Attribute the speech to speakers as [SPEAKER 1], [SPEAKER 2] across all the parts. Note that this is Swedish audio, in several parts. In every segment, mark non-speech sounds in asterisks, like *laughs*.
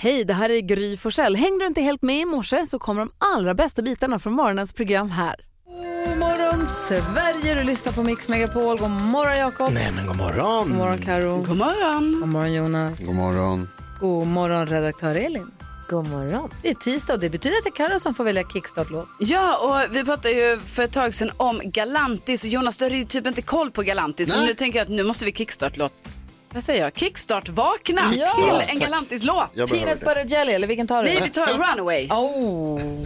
[SPEAKER 1] Hej, det här är Gry Forssell. Hängde du inte helt med i morse så kommer de allra bästa bitarna från morgonens program här. God morgon Sverige, du lyssnar på Mix Megapol. God morgon Jakob.
[SPEAKER 2] Nej men god morgon.
[SPEAKER 1] God morgon Karo. God morgon. God morgon Jonas.
[SPEAKER 3] God morgon.
[SPEAKER 1] God morgon redaktör Elin.
[SPEAKER 4] God morgon.
[SPEAKER 1] Det är tisdag och det betyder att det är Karo som får välja kickstart-låt.
[SPEAKER 5] Ja, och vi pratade ju för ett tag sedan om Galantis och Jonas, du hade ju typ inte koll på Galantis. Så
[SPEAKER 1] Nej.
[SPEAKER 5] nu tänker jag att nu måste vi kickstart-låt. Vad säger jag? Kickstart-vakna
[SPEAKER 1] Ja.
[SPEAKER 5] till en Galantis-låt.
[SPEAKER 1] Jag behöver Peanut det. butter jelly, eller vilken tar du?
[SPEAKER 5] Nej, vi tar Runaway.
[SPEAKER 1] Oh.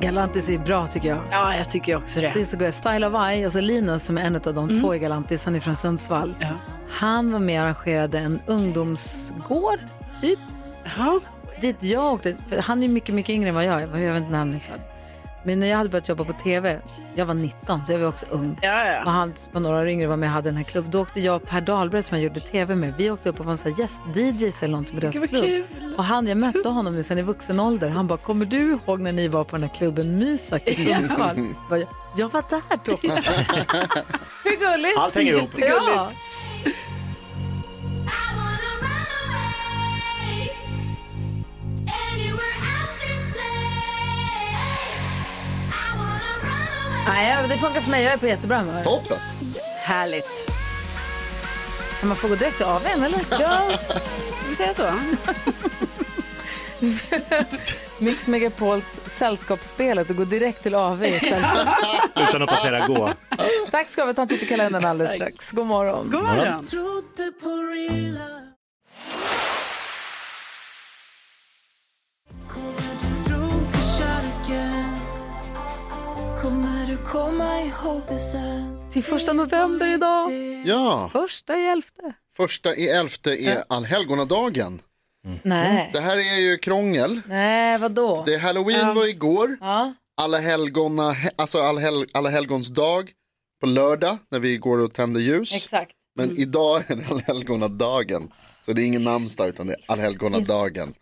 [SPEAKER 1] Galantis är bra tycker jag.
[SPEAKER 5] Ja, jag tycker också det.
[SPEAKER 1] Det är så gott. Style of I, alltså Linus som är en av de två i Galantis, han är från Sundsvall. Han var med och arrangerade en ungdomsgård, typ. Dit jag åkte, för han är mycket, mycket yngre än vad jag är, jag vet inte när han är född. Men när jag hade börjat jobba på tv, jag var 19 så jag var också ung. Och han var några år yngre och var med och hade den här klubben. Då åkte jag och Per Dahlberg som jag gjorde tv med, vi åkte upp och var så här gäst-DJs eller någonting på deras
[SPEAKER 5] Gud, vad
[SPEAKER 1] klubb. Och han, jag mötte honom nu sen i vuxen ålder, han bara, kommer du ihåg när ni var på den här klubben Mysak i Sundsvall? Bara, Jag var där då. Hur gulligt?
[SPEAKER 2] Allt hänger ihop.
[SPEAKER 1] Ja. Nej, det funkar för mig. Jag är på jättebra humör.
[SPEAKER 3] Toppen.
[SPEAKER 5] Härligt.
[SPEAKER 1] Kan man få gå direkt till AWn eller? Ja.
[SPEAKER 5] Ska vi säga så?
[SPEAKER 1] Mix Megapols sällskapsspelet och gå direkt till AW istället.
[SPEAKER 2] Utan att passera gå.
[SPEAKER 1] Tack ska du ha. Vi tar en titt i kalendern alldeles strax. God morgon.
[SPEAKER 5] God morgon.
[SPEAKER 1] Till första november idag.
[SPEAKER 3] Ja,
[SPEAKER 1] Första i elfte.
[SPEAKER 3] första i elfte är allhelgonadagen.
[SPEAKER 1] Nej.
[SPEAKER 3] Det här är ju krångel.
[SPEAKER 1] Nej, vadå?
[SPEAKER 3] Mm. Det är halloween var igår.
[SPEAKER 1] Ja.
[SPEAKER 3] Alla, helgona, alltså allhel, alla helgons dag på lördag när vi går och tänder ljus.
[SPEAKER 1] Exakt. Mm.
[SPEAKER 3] Men idag är det allhelgonadagen. Så det är ingen namnsdag utan det är allhelgonadagen.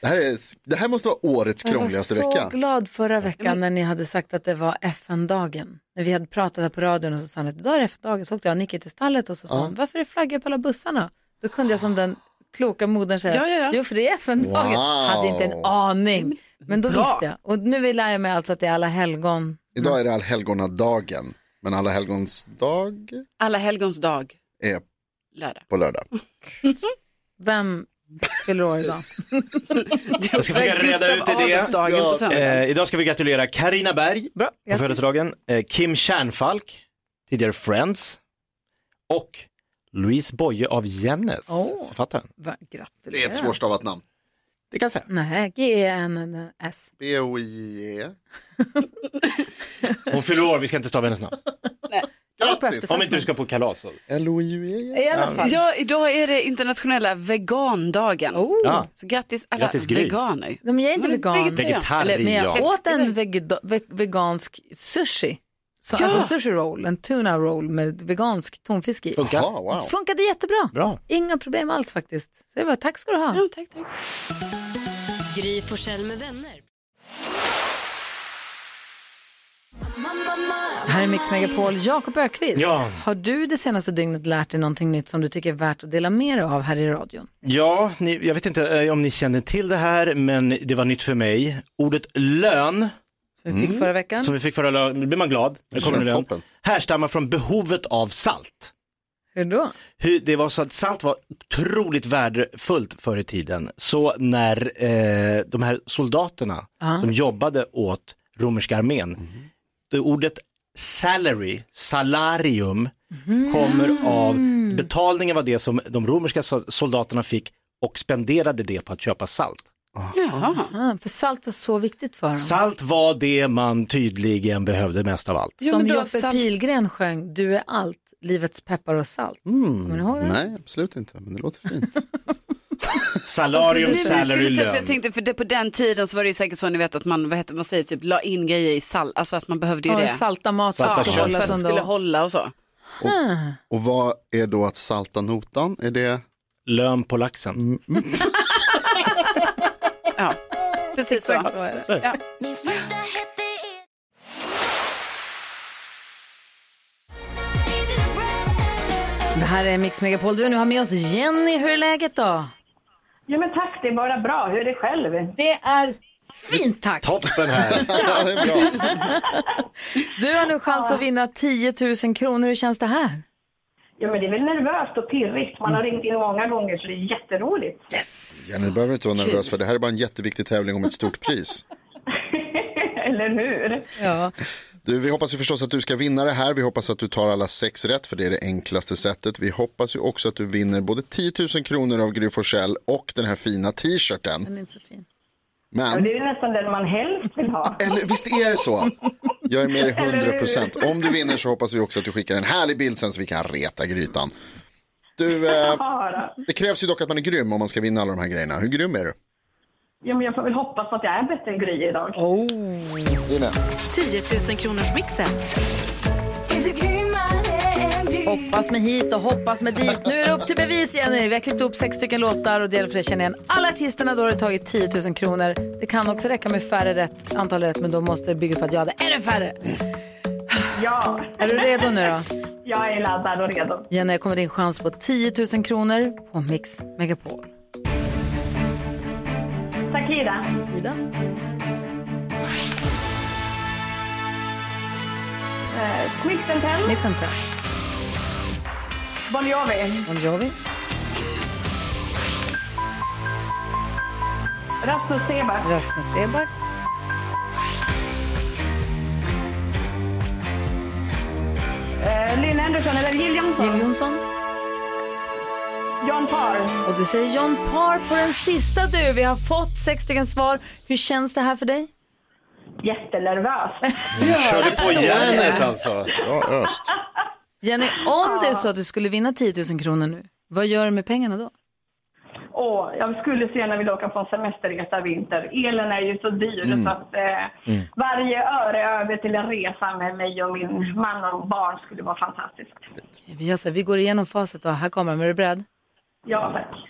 [SPEAKER 3] Det här, är, det här måste vara årets
[SPEAKER 1] Jag var
[SPEAKER 3] krångligaste
[SPEAKER 1] så
[SPEAKER 3] vecka.
[SPEAKER 1] glad förra veckan när ni hade sagt att det var FN-dagen. När vi hade pratat här på radion och så sa han att idag är FN-dagen. Så åkte jag och Nicky till stallet och så sa han, varför är det flaggor på alla bussarna? Då kunde jag som den kloka modern säga,
[SPEAKER 5] Ja, ja, ja.
[SPEAKER 1] jo för det är FN-dagen.
[SPEAKER 3] Wow.
[SPEAKER 1] Hade inte en aning. Men då
[SPEAKER 5] Bra.
[SPEAKER 1] visste jag. Och nu vill jag mig alltså att det är alla helgon.
[SPEAKER 3] Idag är det allhelgonadagen. Men alla helgons dag
[SPEAKER 5] Alla helgons dag,
[SPEAKER 3] är
[SPEAKER 5] lördag.
[SPEAKER 3] på lördag.
[SPEAKER 1] Vem fyller år idag?
[SPEAKER 2] Jag ska försöka reda ut idén.
[SPEAKER 5] Adolfsdagen på söndag.
[SPEAKER 2] Eh, idag ska vi gratulera Karina Berg
[SPEAKER 1] Bra,
[SPEAKER 2] på
[SPEAKER 1] grattis.
[SPEAKER 2] födelsedagen, eh, Kim Kärnfalk, tidigare Friends och Louise Boye av Jennes,
[SPEAKER 1] Åh.
[SPEAKER 2] författaren.
[SPEAKER 1] Va, gratulerar.
[SPEAKER 3] Det är ett svårstavat namn.
[SPEAKER 2] Det kan jag säga.
[SPEAKER 1] Nej, E G-E-N-N-S.
[SPEAKER 3] B-O-I-E.
[SPEAKER 2] Hon fyller år, vi ska inte stava hennes namn.
[SPEAKER 3] Grattis!
[SPEAKER 2] Om inte du ska på kalas. så-
[SPEAKER 3] L-O-I-E.
[SPEAKER 1] I alla fall.
[SPEAKER 5] Ja, eh, idag är det internationella vegandagen.
[SPEAKER 2] Ja.
[SPEAKER 5] Så grattis alla
[SPEAKER 2] Grattis, Gry.
[SPEAKER 5] veganer.
[SPEAKER 1] Nej, Men jag är inte
[SPEAKER 5] Men
[SPEAKER 1] vegan.
[SPEAKER 5] vegetarian.
[SPEAKER 2] Vegetarian.
[SPEAKER 5] Eller-
[SPEAKER 1] Men jag
[SPEAKER 2] Ja.
[SPEAKER 1] åt en vegeda- ve- vegansk sushi. Så,
[SPEAKER 5] Ja!
[SPEAKER 1] Alltså sushi roll, en tuna roll med vegansk tonfisk i.
[SPEAKER 2] Funkar.
[SPEAKER 3] Jaha, wow.
[SPEAKER 1] Funkade jättebra.
[SPEAKER 2] Bra.
[SPEAKER 1] Inga problem alls faktiskt. Så det var, tack ska du ha.
[SPEAKER 5] Ja, tack, tack.
[SPEAKER 4] Gry Forssell med vänner.
[SPEAKER 1] Här är Mix Megapol. Jakob Ökvist,
[SPEAKER 2] Ja.
[SPEAKER 1] har du det senaste dygnet lärt dig någonting nytt som du tycker är värt att dela med dig av här i radion?
[SPEAKER 2] Ja, ni, jag vet inte eh, om ni känner till det här, men det var nytt för mig. Ordet lön,
[SPEAKER 1] Som vi fick
[SPEAKER 2] Mm.
[SPEAKER 1] förra veckan.
[SPEAKER 2] som vi fick förra lördagen, nu blir man glad. Det kommer en lön.
[SPEAKER 3] Toppen.
[SPEAKER 2] Härstammar från behovet av salt.
[SPEAKER 1] Hur då?
[SPEAKER 2] Hur, det var så att salt var otroligt värdefullt förr i tiden. Så när eh, de här soldaterna som jobbade åt romerska armén,
[SPEAKER 5] Mhm.
[SPEAKER 2] det ordet salary, salarium,
[SPEAKER 5] Mhm.
[SPEAKER 2] kommer av betalningen var det som de romerska so- soldaterna fick och spenderade det på att köpa salt.
[SPEAKER 1] Aha, Ah, för salt var så viktigt för dem.
[SPEAKER 2] Salt var det man tydligen behövde mest av allt.
[SPEAKER 5] Jo,
[SPEAKER 1] Som
[SPEAKER 5] men då
[SPEAKER 1] Joppe
[SPEAKER 5] salt-
[SPEAKER 1] Pilgren sjöng, du är allt, livets peppar och salt. Kommer ni ihåg det?
[SPEAKER 3] Mm. Nej, absolut inte, men det låter fint. *laughs*
[SPEAKER 2] Salarium,
[SPEAKER 5] Nej, men jag
[SPEAKER 2] salary,
[SPEAKER 5] skulle säga, för
[SPEAKER 2] lön.
[SPEAKER 5] jag tänkte, för det, på den tiden så var det ju säkert så, ni vet att man, vad heter, man säger typ, la in grejer i salt, alltså att man behövde ju
[SPEAKER 1] Ja,
[SPEAKER 5] det.
[SPEAKER 1] salta mat för
[SPEAKER 2] Salta
[SPEAKER 1] att
[SPEAKER 5] ja,
[SPEAKER 1] det
[SPEAKER 5] så
[SPEAKER 1] ska
[SPEAKER 2] kött.
[SPEAKER 1] hållas
[SPEAKER 5] att det skulle
[SPEAKER 1] ändå.
[SPEAKER 5] hålla och så.
[SPEAKER 3] Och vad är då att salta notan? Är det... *laughs*
[SPEAKER 2] Lön på
[SPEAKER 5] Mm.
[SPEAKER 2] laxen.
[SPEAKER 5] Ja, precis så.
[SPEAKER 1] Exakt så är
[SPEAKER 2] det.
[SPEAKER 5] Ja.
[SPEAKER 1] Det här är Mix Megapol. Du nu har med oss Jenny. Hur är läget då?
[SPEAKER 6] Ja, men tack, det är bara bra. Hur är det själv?
[SPEAKER 1] Det är fint tack.
[SPEAKER 2] Toppen
[SPEAKER 5] *laughs*
[SPEAKER 2] här.
[SPEAKER 3] Ja, det är *laughs* bra.
[SPEAKER 1] Du har nu chans att vinna 10 000 kronor. Hur känns det här?
[SPEAKER 6] Ja, men det är väl nervöst och pirrigt. Man har ringt in många gånger så det är jätteroligt. *laughs*
[SPEAKER 3] Jenny, du behöver inte vara nervös för det här är bara en jätteviktig tävling om ett stort pris.
[SPEAKER 6] Eller hur?
[SPEAKER 1] Ja.
[SPEAKER 3] Du, vi hoppas ju förstås att du ska vinna det här. Vi hoppas att du tar alla sex rätt, för det är det enklaste sättet. Vi hoppas ju också att du vinner både 10 000 kronor av Gry Forssell och den här fina t-shirten.
[SPEAKER 1] Den är inte så fin.
[SPEAKER 6] Och
[SPEAKER 3] Men,
[SPEAKER 6] det är ju nästan den man helst vill
[SPEAKER 3] *laughs*
[SPEAKER 6] ha.
[SPEAKER 3] eller visst är det så? Jag är med dig 100 procent. Om du vinner så hoppas vi också att du skickar en härlig bild sen så vi kan reta grytan. Du, eh,
[SPEAKER 6] Ja, då.
[SPEAKER 3] det krävs ju dock att man är grym om man ska vinna alla de här grejerna. Hur grym är du?
[SPEAKER 6] Ja, men jag får väl hoppas att jag är bättre än Gry idag.
[SPEAKER 4] 10 000 kronors mixen.
[SPEAKER 1] Hoppas med hit och hoppas med dit. Nu är det upp till bevis Jenny. Vi har klippt upp sex stycken låtar och det gäller för dig att känna igen alla artisterna. Då har du tagit 10 000 kronor. Det kan också räcka med färre rätt, antal rätt, men då måste det bygga på att jag hade ännu färre.
[SPEAKER 6] Ja,
[SPEAKER 1] Är du redo nu då?
[SPEAKER 6] jag är laddad och redo.
[SPEAKER 1] Jenny, här kommer din chans på 10 000 kronor på Mix Megapol.
[SPEAKER 6] Takida.
[SPEAKER 1] Ida?
[SPEAKER 6] Eh, Smith Tell.
[SPEAKER 1] Smith Tell.
[SPEAKER 6] Bon Jovi.
[SPEAKER 1] Bon Jovi.
[SPEAKER 6] Rasmus Seebach.
[SPEAKER 1] Rasmus Seback.
[SPEAKER 6] Eh, Lynn Anderson eller Jill
[SPEAKER 1] Jill
[SPEAKER 6] Johnson.
[SPEAKER 1] Johnson.
[SPEAKER 6] John Parr.
[SPEAKER 1] Och du säger John Parr på den sista du. Vi har fått sex stycken svar. Hur känns det här för dig?
[SPEAKER 6] Jättenervös.
[SPEAKER 2] Körde på järnet alltså.
[SPEAKER 3] Ja, öst.
[SPEAKER 1] Jenny, om det är så att du skulle vinna 10 000 kronor nu, vad gör du med pengarna då?
[SPEAKER 6] Åh, jag skulle så gärna vilja åka på en semesterresa i vinter. Elen är ju så dyr
[SPEAKER 1] Mm.
[SPEAKER 6] så att eh, varje öre över till en resa med mig och min man och barn skulle vara fantastiskt.
[SPEAKER 1] Vi, gör så här, vi går igenom facit och här kommer de. Är du beredd?
[SPEAKER 6] Ja, tack.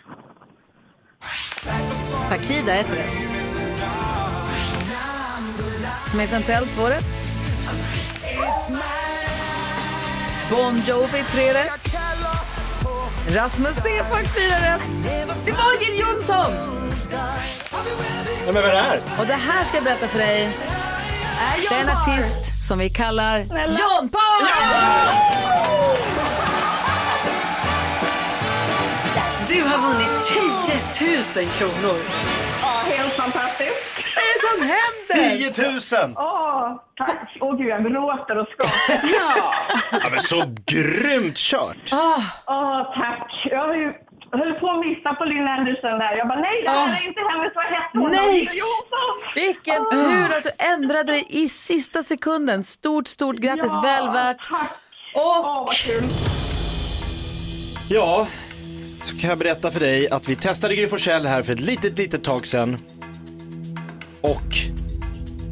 [SPEAKER 1] Takida heter det. Smith Tell, två rätt. Bon Jovi, tre rätt. Rasmus Seeback, fyra rätt. Det var Jill Johnson!
[SPEAKER 2] Men vad är det här?
[SPEAKER 1] Och det här ska jag berätta för dig. Det är en artist som vi kallar John Paul!
[SPEAKER 4] Du har vunnit 10 000 kronor.
[SPEAKER 6] Ja, helt fantastiskt.
[SPEAKER 1] Vad är det som händer?
[SPEAKER 2] 10 000!
[SPEAKER 6] Åh, tack. Åh gud, jag gråter och
[SPEAKER 1] *laughs*
[SPEAKER 6] skakar.
[SPEAKER 2] Ja, men så grymt kört!
[SPEAKER 6] Åh, tack. Jag har ju- jag höll på att missa på Lynn Anderson där. Jag bara, nej, det här är inte hennes. Vad hette hon?
[SPEAKER 1] Nej!
[SPEAKER 6] Lisa Jonsson!
[SPEAKER 1] Vilken tur att du ändrade dig i sista sekunden. Stort, stort grattis,
[SPEAKER 6] Ja,
[SPEAKER 1] väl värt.
[SPEAKER 6] Tack.
[SPEAKER 1] Och
[SPEAKER 6] Åh, vad kul.
[SPEAKER 2] Ja, så kan jag berätta för dig att vi testade Gry Forssell här för ett litet, litet tag sedan. Och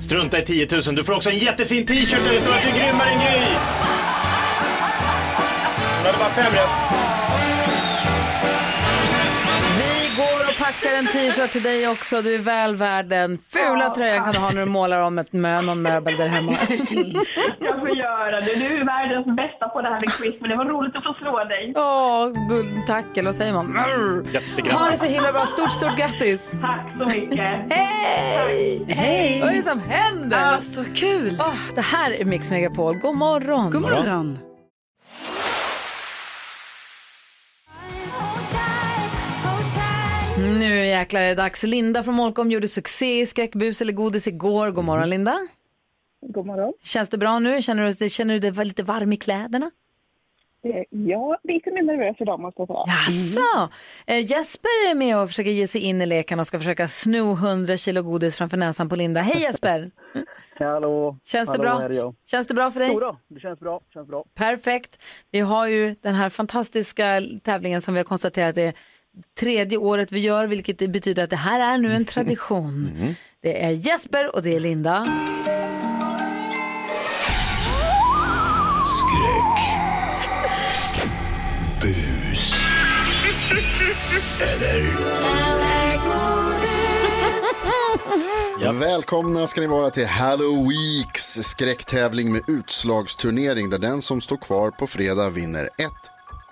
[SPEAKER 2] strunta i 10 000. Du får också en jättefin t-shirt där det står att du är grymmare än Gry! Hon hade bara fem rätt.
[SPEAKER 1] Vi går och packar en t-shirt till dig också. Du är väl värd den fula tröjan kan du ha när du målar om ett mö, någon möbel där hemma.
[SPEAKER 6] Jag får göra det. Du är världens bästa på det här med quiz, men det var roligt att få slå dig.
[SPEAKER 1] Åh, guldtackel, vad säger man? Ha
[SPEAKER 2] Jättegrann.
[SPEAKER 1] det så himla bra. Stort, stort grattis.
[SPEAKER 6] Tack så mycket.
[SPEAKER 1] Hej!
[SPEAKER 5] Hej!
[SPEAKER 1] Vad är det som händer?
[SPEAKER 5] Ah, så kul!
[SPEAKER 1] Åh, det här är Mix Megapol. God morgon.
[SPEAKER 5] God morgon!
[SPEAKER 1] Mm, Nu jäklar är det dags. Linda från Molkom gjorde succé i Skräckbus eller godis igår. God morgon Linda.
[SPEAKER 7] God morgon.
[SPEAKER 1] Känns det bra nu? Känner du, känner du dig lite varm i kläderna?
[SPEAKER 7] eh, ja, lite mer nervös idag måste jag säga. Mm.
[SPEAKER 1] Jaså? Eh, Jesper är med och försöker ge sig in i leken och ska försöka sno 100 kilo godis framför näsan på Linda. Hej Jesper!
[SPEAKER 8] *laughs* Hallå!
[SPEAKER 1] Känns det
[SPEAKER 8] Hallå,
[SPEAKER 1] bra?
[SPEAKER 8] här är jag.
[SPEAKER 1] Känns det bra för dig?
[SPEAKER 8] Jo då, det känns bra. Känns bra.
[SPEAKER 1] Perfekt. Vi har ju den här fantastiska tävlingen som vi har konstaterat är tredje året vi gör, vilket det betyder att det här är nu en tradition. Det är Jesper och det är Linda.
[SPEAKER 9] Skräck. Bus. Eller
[SPEAKER 3] Välkomna ska ni vara till Halloweeks skräcktävling med utslagsturnering där den som står kvar på fredag vinner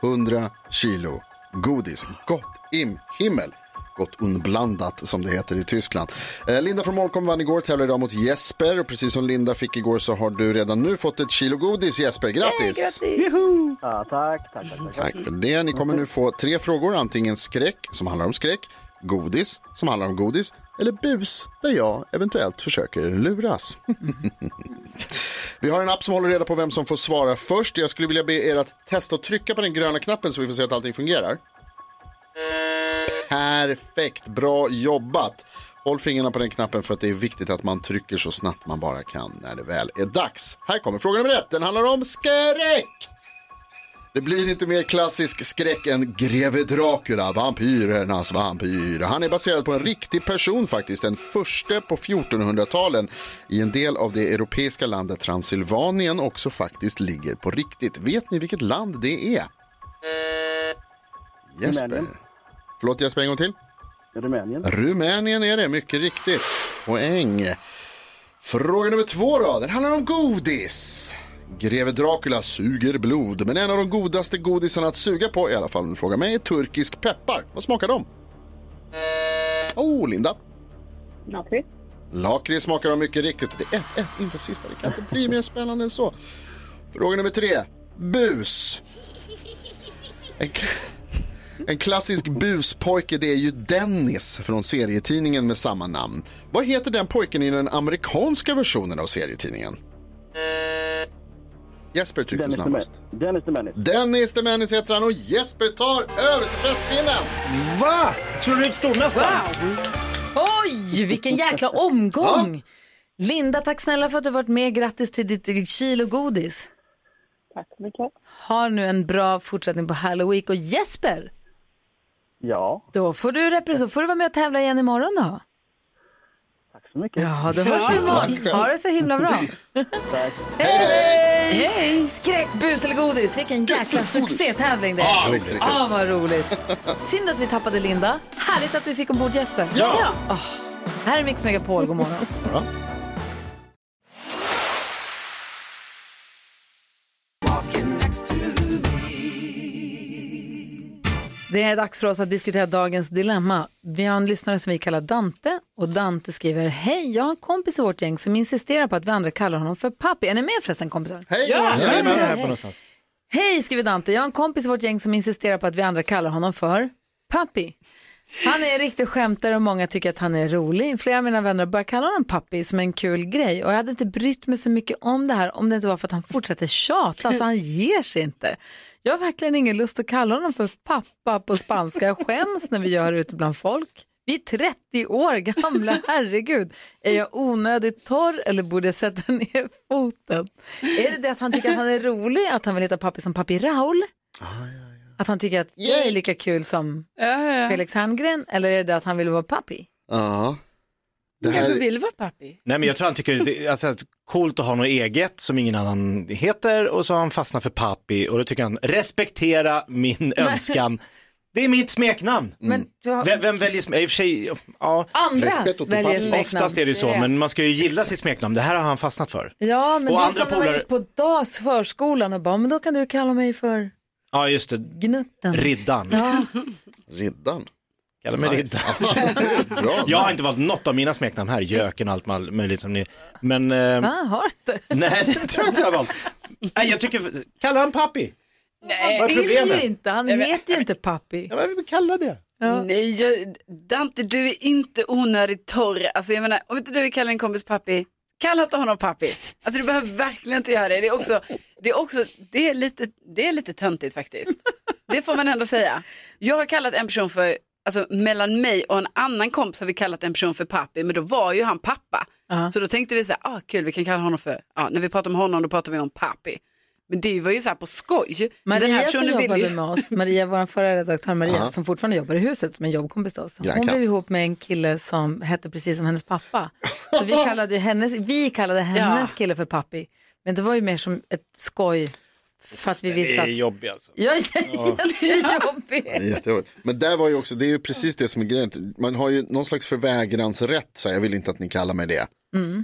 [SPEAKER 3] 100 kilo godis. Gott im himmel. Gott unblandat som det heter i Tyskland. Eh, Linda från Molkom vann igår, tävlar idag mot Jesper och precis som Linda fick igår så har du redan nu fått ett kilo godis Jesper, grattis!
[SPEAKER 8] Ja, tack, tack, tack. tack.
[SPEAKER 3] Tack för det. Ni kommer nu få tre frågor. Antingen skräck, som handlar om skräck, godis, som handlar om godis, eller bus, där jag eventuellt försöker luras. *laughs* vi har en app som håller reda på vem som får svara först. Jag skulle vilja be er att testa att trycka på den gröna knappen så vi får se att allting fungerar. Perfekt, bra jobbat. Håll fingrarna på den knappen för att det är viktigt att man trycker så snabbt man bara kan när det väl är dags. Här kommer fråga nummer ett, den handlar om skräck. Det blir inte mer klassisk skräck än greve Dracula, vampyrernas vampyr. Han är baserad på en riktig person faktiskt, den första på 1400-talen i en del av det europeiska landet Transylvanien också faktiskt ligger på riktigt. Vet ni vilket land det är? Jesper.
[SPEAKER 8] Rumänien.
[SPEAKER 3] Förlåt Jesper, en gång till.
[SPEAKER 8] Rumänien.
[SPEAKER 3] Rumänien är det, mycket riktigt. Poäng. Fråga nummer två då, den handlar om godis. Greve Dracula suger blod, men en av de godaste godisarna att suga på, i alla fall om du frågar mig, är turkisk peppar. Vad smakar de? Oh, Linda.
[SPEAKER 7] Lakrits.
[SPEAKER 3] Lakrits smakar de mycket riktigt. Det är 1-1 inför sista, det kan inte bli mer spännande än så. Fråga nummer tre, bus. En, kla- en klassisk buspojke det är ju Dennis från serietidningen med samma namn. Vad heter den pojken i den amerikanska versionen av serietidningen? Jesper tryckte
[SPEAKER 8] Dennis the
[SPEAKER 3] snabbast.
[SPEAKER 8] Man- Dennis the Menace.
[SPEAKER 3] Dennis the Menace heter han och Jesper tar över stafettpinnen.
[SPEAKER 2] Va? Slår du ut stormästaren?
[SPEAKER 1] Oj, vilken *laughs* jäkla omgång! Linda, tack snälla för att du varit med. Grattis till ditt kilo godis.
[SPEAKER 7] Tack så mycket.
[SPEAKER 1] Ha nu en bra fortsättning på Halloween. Och Jesper,
[SPEAKER 8] Ja,
[SPEAKER 1] då får du, represent- får du vara med och tävla igen imorgon då.
[SPEAKER 8] tack så mycket.
[SPEAKER 1] Ja, då hörs vi imorgon. Ha det så himla bra.
[SPEAKER 8] Tack.
[SPEAKER 1] Hej! Hej! Skräck, bus eller godis. Vilken jäkla succétävling det är.
[SPEAKER 3] Ja, visst är det kul.
[SPEAKER 1] Ah, vad roligt. Synd att vi tappade Linda. Härligt att vi fick ombord Jesper. Ja. Ah, här är Mix Megapol. God morgon. Det är dags för oss att diskutera dagens dilemma. Vi har en lyssnare som vi kallar Dante och Dante skriver Hej, jag har en kompis i vårt gäng som insisterar på att vi andra kallar honom för pappi. Är ni med förresten kompisar?
[SPEAKER 3] Hej! Jajamän.
[SPEAKER 2] Här på någonstans.
[SPEAKER 1] Hej, skriver Dante. Jag har en kompis i vårt gäng som insisterar på att vi andra kallar honom för Pappi. Han är en riktig skämtare och många tycker att han är rolig. Flera av mina vänner har börjat kalla honom Pappi som en kul grej och jag hade inte brytt mig så mycket om det här om det inte var för att han fortsätter tjata så han ger sig inte. Jag har verkligen ingen lust att kalla honom för pappa på spanska. Jag skäms när vi gör det ute bland folk. Vi är 30 år gamla, herregud. Är jag onödigt torr eller borde jag sätta ner foten? Är det det att han tycker att han är rolig, att han vill heta pappi som pappi Raul? Att han tycker att jag är lika kul som Felix Herngren eller är det det att han vill vara pappi?
[SPEAKER 3] Ja. Det
[SPEAKER 5] Du kanske
[SPEAKER 3] här,
[SPEAKER 5] vill vara pappi?
[SPEAKER 2] Nej men jag tror han tycker det är alltså, att coolt att ha något eget som ingen annan heter och så har han fastnat för pappi och då tycker han respektera min önskan. Det är mitt smeknamn.
[SPEAKER 1] Men du har...
[SPEAKER 2] Mm. Vem, vem väljer smeknamn? I och för sig, ja,
[SPEAKER 3] Respekt
[SPEAKER 1] Andra
[SPEAKER 3] åt
[SPEAKER 1] väljer
[SPEAKER 3] pappi.
[SPEAKER 2] oftast
[SPEAKER 1] smeknamn.
[SPEAKER 2] är det ju så, men man ska ju gilla sitt smeknamn. Det här har han fastnat för.
[SPEAKER 1] Ja, men
[SPEAKER 2] Och
[SPEAKER 1] det är
[SPEAKER 2] andra
[SPEAKER 1] som när man
[SPEAKER 2] polare-
[SPEAKER 1] gick på dags förskolan och bara, men då kan du kalla mig för
[SPEAKER 2] Ja, just det.
[SPEAKER 1] Gnutten.
[SPEAKER 2] Riddaren.
[SPEAKER 3] riddaren.
[SPEAKER 2] Kalla mig riddaren.
[SPEAKER 3] Ja, det är bra.
[SPEAKER 2] Jag har inte valt något av mina smeknamn här, Jöken och allt mal- möjligt som ni, men eh,
[SPEAKER 1] Va, har du inte?
[SPEAKER 2] nej *laughs* det tror jag inte jag har valt. Nej jag tycker, kalla han pappi.
[SPEAKER 5] Nej.
[SPEAKER 2] Vad är
[SPEAKER 1] Vill ju
[SPEAKER 2] problemet?
[SPEAKER 1] inte, han heter ju inte pappi.
[SPEAKER 2] Ja, men kalla det.
[SPEAKER 5] Nej, jag, Dante, du är inte onödigt torr. Alltså jag menar, om inte du vill kalla en kompis pappi, kalla inte honom pappi. Alltså du behöver verkligen inte göra det. Det är också, det är också, det är lite, det är lite töntigt faktiskt. Det får man ändå säga. Jag har kallat en person för, alltså mellan mig och en annan kompis har vi kallat en person för pappi, men då var ju han pappa. Så då tänkte vi så här, ah, kul vi kan kalla honom för, ah, när vi pratar om honom då pratar vi om pappi. Men det var ju så här på skoj. Men den här
[SPEAKER 1] Maria som
[SPEAKER 5] personen ville
[SPEAKER 1] jobbade
[SPEAKER 5] ju-
[SPEAKER 1] med oss, Maria, vår förra redaktör Maria,
[SPEAKER 3] Ja.
[SPEAKER 1] som fortfarande jobbar i huset med jobbkompis till oss. Hon
[SPEAKER 3] Grannkamp.
[SPEAKER 1] blev ihop med en kille som hette precis som hennes pappa. Så
[SPEAKER 2] *laughs*
[SPEAKER 1] vi kallade, ju hennes, vi kallade hennes
[SPEAKER 5] Ja.
[SPEAKER 1] kille för pappi. Men det var ju mer som ett skoj för att vi visste att...
[SPEAKER 2] jobbig alltså.
[SPEAKER 1] Jag är jättejobbig.
[SPEAKER 3] Jättejobbigt. Men där var ju också, det är ju precis det som är grejen. Man har ju någon slags förvägransrätt, så här, jag vill inte att ni kallar mig det.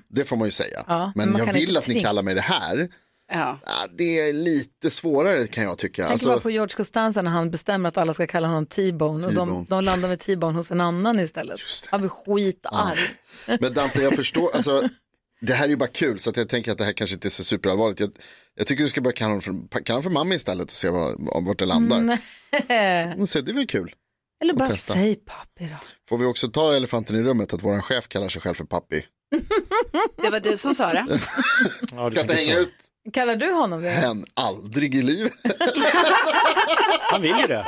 [SPEAKER 3] Det får man ju säga.
[SPEAKER 1] Mm. Ja, men
[SPEAKER 3] men
[SPEAKER 1] man
[SPEAKER 3] jag
[SPEAKER 1] kan
[SPEAKER 3] vill
[SPEAKER 1] inte
[SPEAKER 3] att ni
[SPEAKER 1] tvinga.
[SPEAKER 3] kallar mig det här.
[SPEAKER 5] Ja.
[SPEAKER 3] Ja, det är lite svårare kan jag tycka.
[SPEAKER 1] Tänk bara
[SPEAKER 3] Alltså,
[SPEAKER 1] på George Costanza när han bestämmer att alla ska kalla honom T-bone och de,
[SPEAKER 3] T-bone.
[SPEAKER 1] de landar med T-bone hos en annan istället. Han blir skitarg.
[SPEAKER 3] men Dante, jag förstår, alltså, det här är ju bara kul så att jag tänker att det här kanske inte är så superallvarligt. Jag, jag tycker du ska börja kalla honom för, kalla honom för mamma istället och se vad, om vart det landar.
[SPEAKER 1] *laughs*
[SPEAKER 3] Mm. Så det är väl kul.
[SPEAKER 1] Eller bara
[SPEAKER 3] testa.
[SPEAKER 1] säg pappi då.
[SPEAKER 3] Får vi också ta elefanten i rummet att våran chef kallar sig själv för pappi.
[SPEAKER 5] Det var du som sa det.
[SPEAKER 2] Ja, du
[SPEAKER 3] Ska
[SPEAKER 2] tänker
[SPEAKER 3] inte hänga
[SPEAKER 2] så.
[SPEAKER 3] ut
[SPEAKER 1] Kallar du honom
[SPEAKER 3] *laughs*
[SPEAKER 1] det?
[SPEAKER 3] hen aldrig i livet.
[SPEAKER 2] Han vill ju det.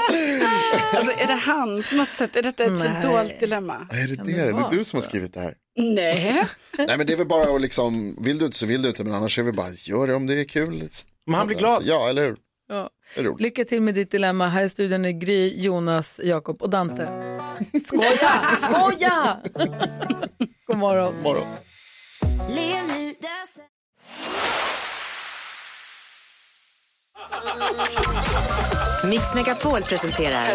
[SPEAKER 5] Alltså, är det han på något sätt? Är detta ett
[SPEAKER 1] Nej.
[SPEAKER 5] så dolt dilemma?
[SPEAKER 3] Är det det?
[SPEAKER 1] det
[SPEAKER 3] Är
[SPEAKER 1] vara
[SPEAKER 3] det du som har skrivit det här?
[SPEAKER 1] *laughs*
[SPEAKER 5] Nej.
[SPEAKER 3] Nej men det är väl bara att liksom, vill du inte så vill du inte men annars är vi bara, gör det om det är kul.
[SPEAKER 2] Men han blir glad.
[SPEAKER 3] Alltså, ja, eller hur?
[SPEAKER 1] Ja.
[SPEAKER 3] Det är roligt.
[SPEAKER 1] Lycka till med ditt dilemma. Här i studion är Gry, Jonas, Jakob och Dante. Skoja!
[SPEAKER 3] *laughs*
[SPEAKER 1] Skoja! God morgon.
[SPEAKER 3] Morgon.
[SPEAKER 4] Mix Megapol presenterar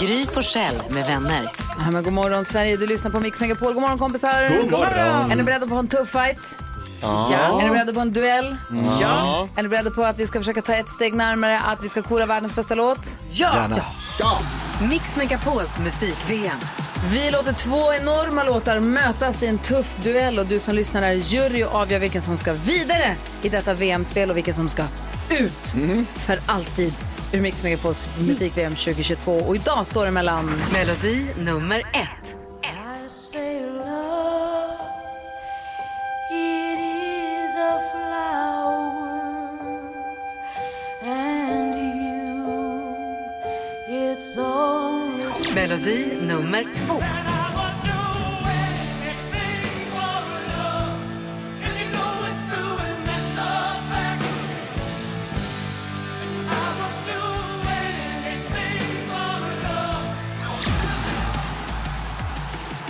[SPEAKER 4] Gry Forssell med vänner.
[SPEAKER 1] Ja, men god morgon Sverige, du lyssnar på Mix Megapol. God morgon kompisar.
[SPEAKER 2] God morgon.
[SPEAKER 1] Är ni beredda på en tuff fight? Ja. Är ni beredda på en duell?
[SPEAKER 3] Ja.
[SPEAKER 1] Är ni beredda på att vi ska försöka ta ett steg närmare att vi ska kora världens bästa låt?
[SPEAKER 5] Ja.
[SPEAKER 3] ja.
[SPEAKER 4] Mix Megapols musik-VM.
[SPEAKER 1] Vi låter två enorma låtar mötas i en tuff duell och du som lyssnar är jury och avgör vilken som ska vidare i detta VM-spel och vilken som ska ut för alltid ur Mix Megapols musik-VM 2022. Och idag står det mellan...
[SPEAKER 4] Melodi nummer ett. Melodi nummer två.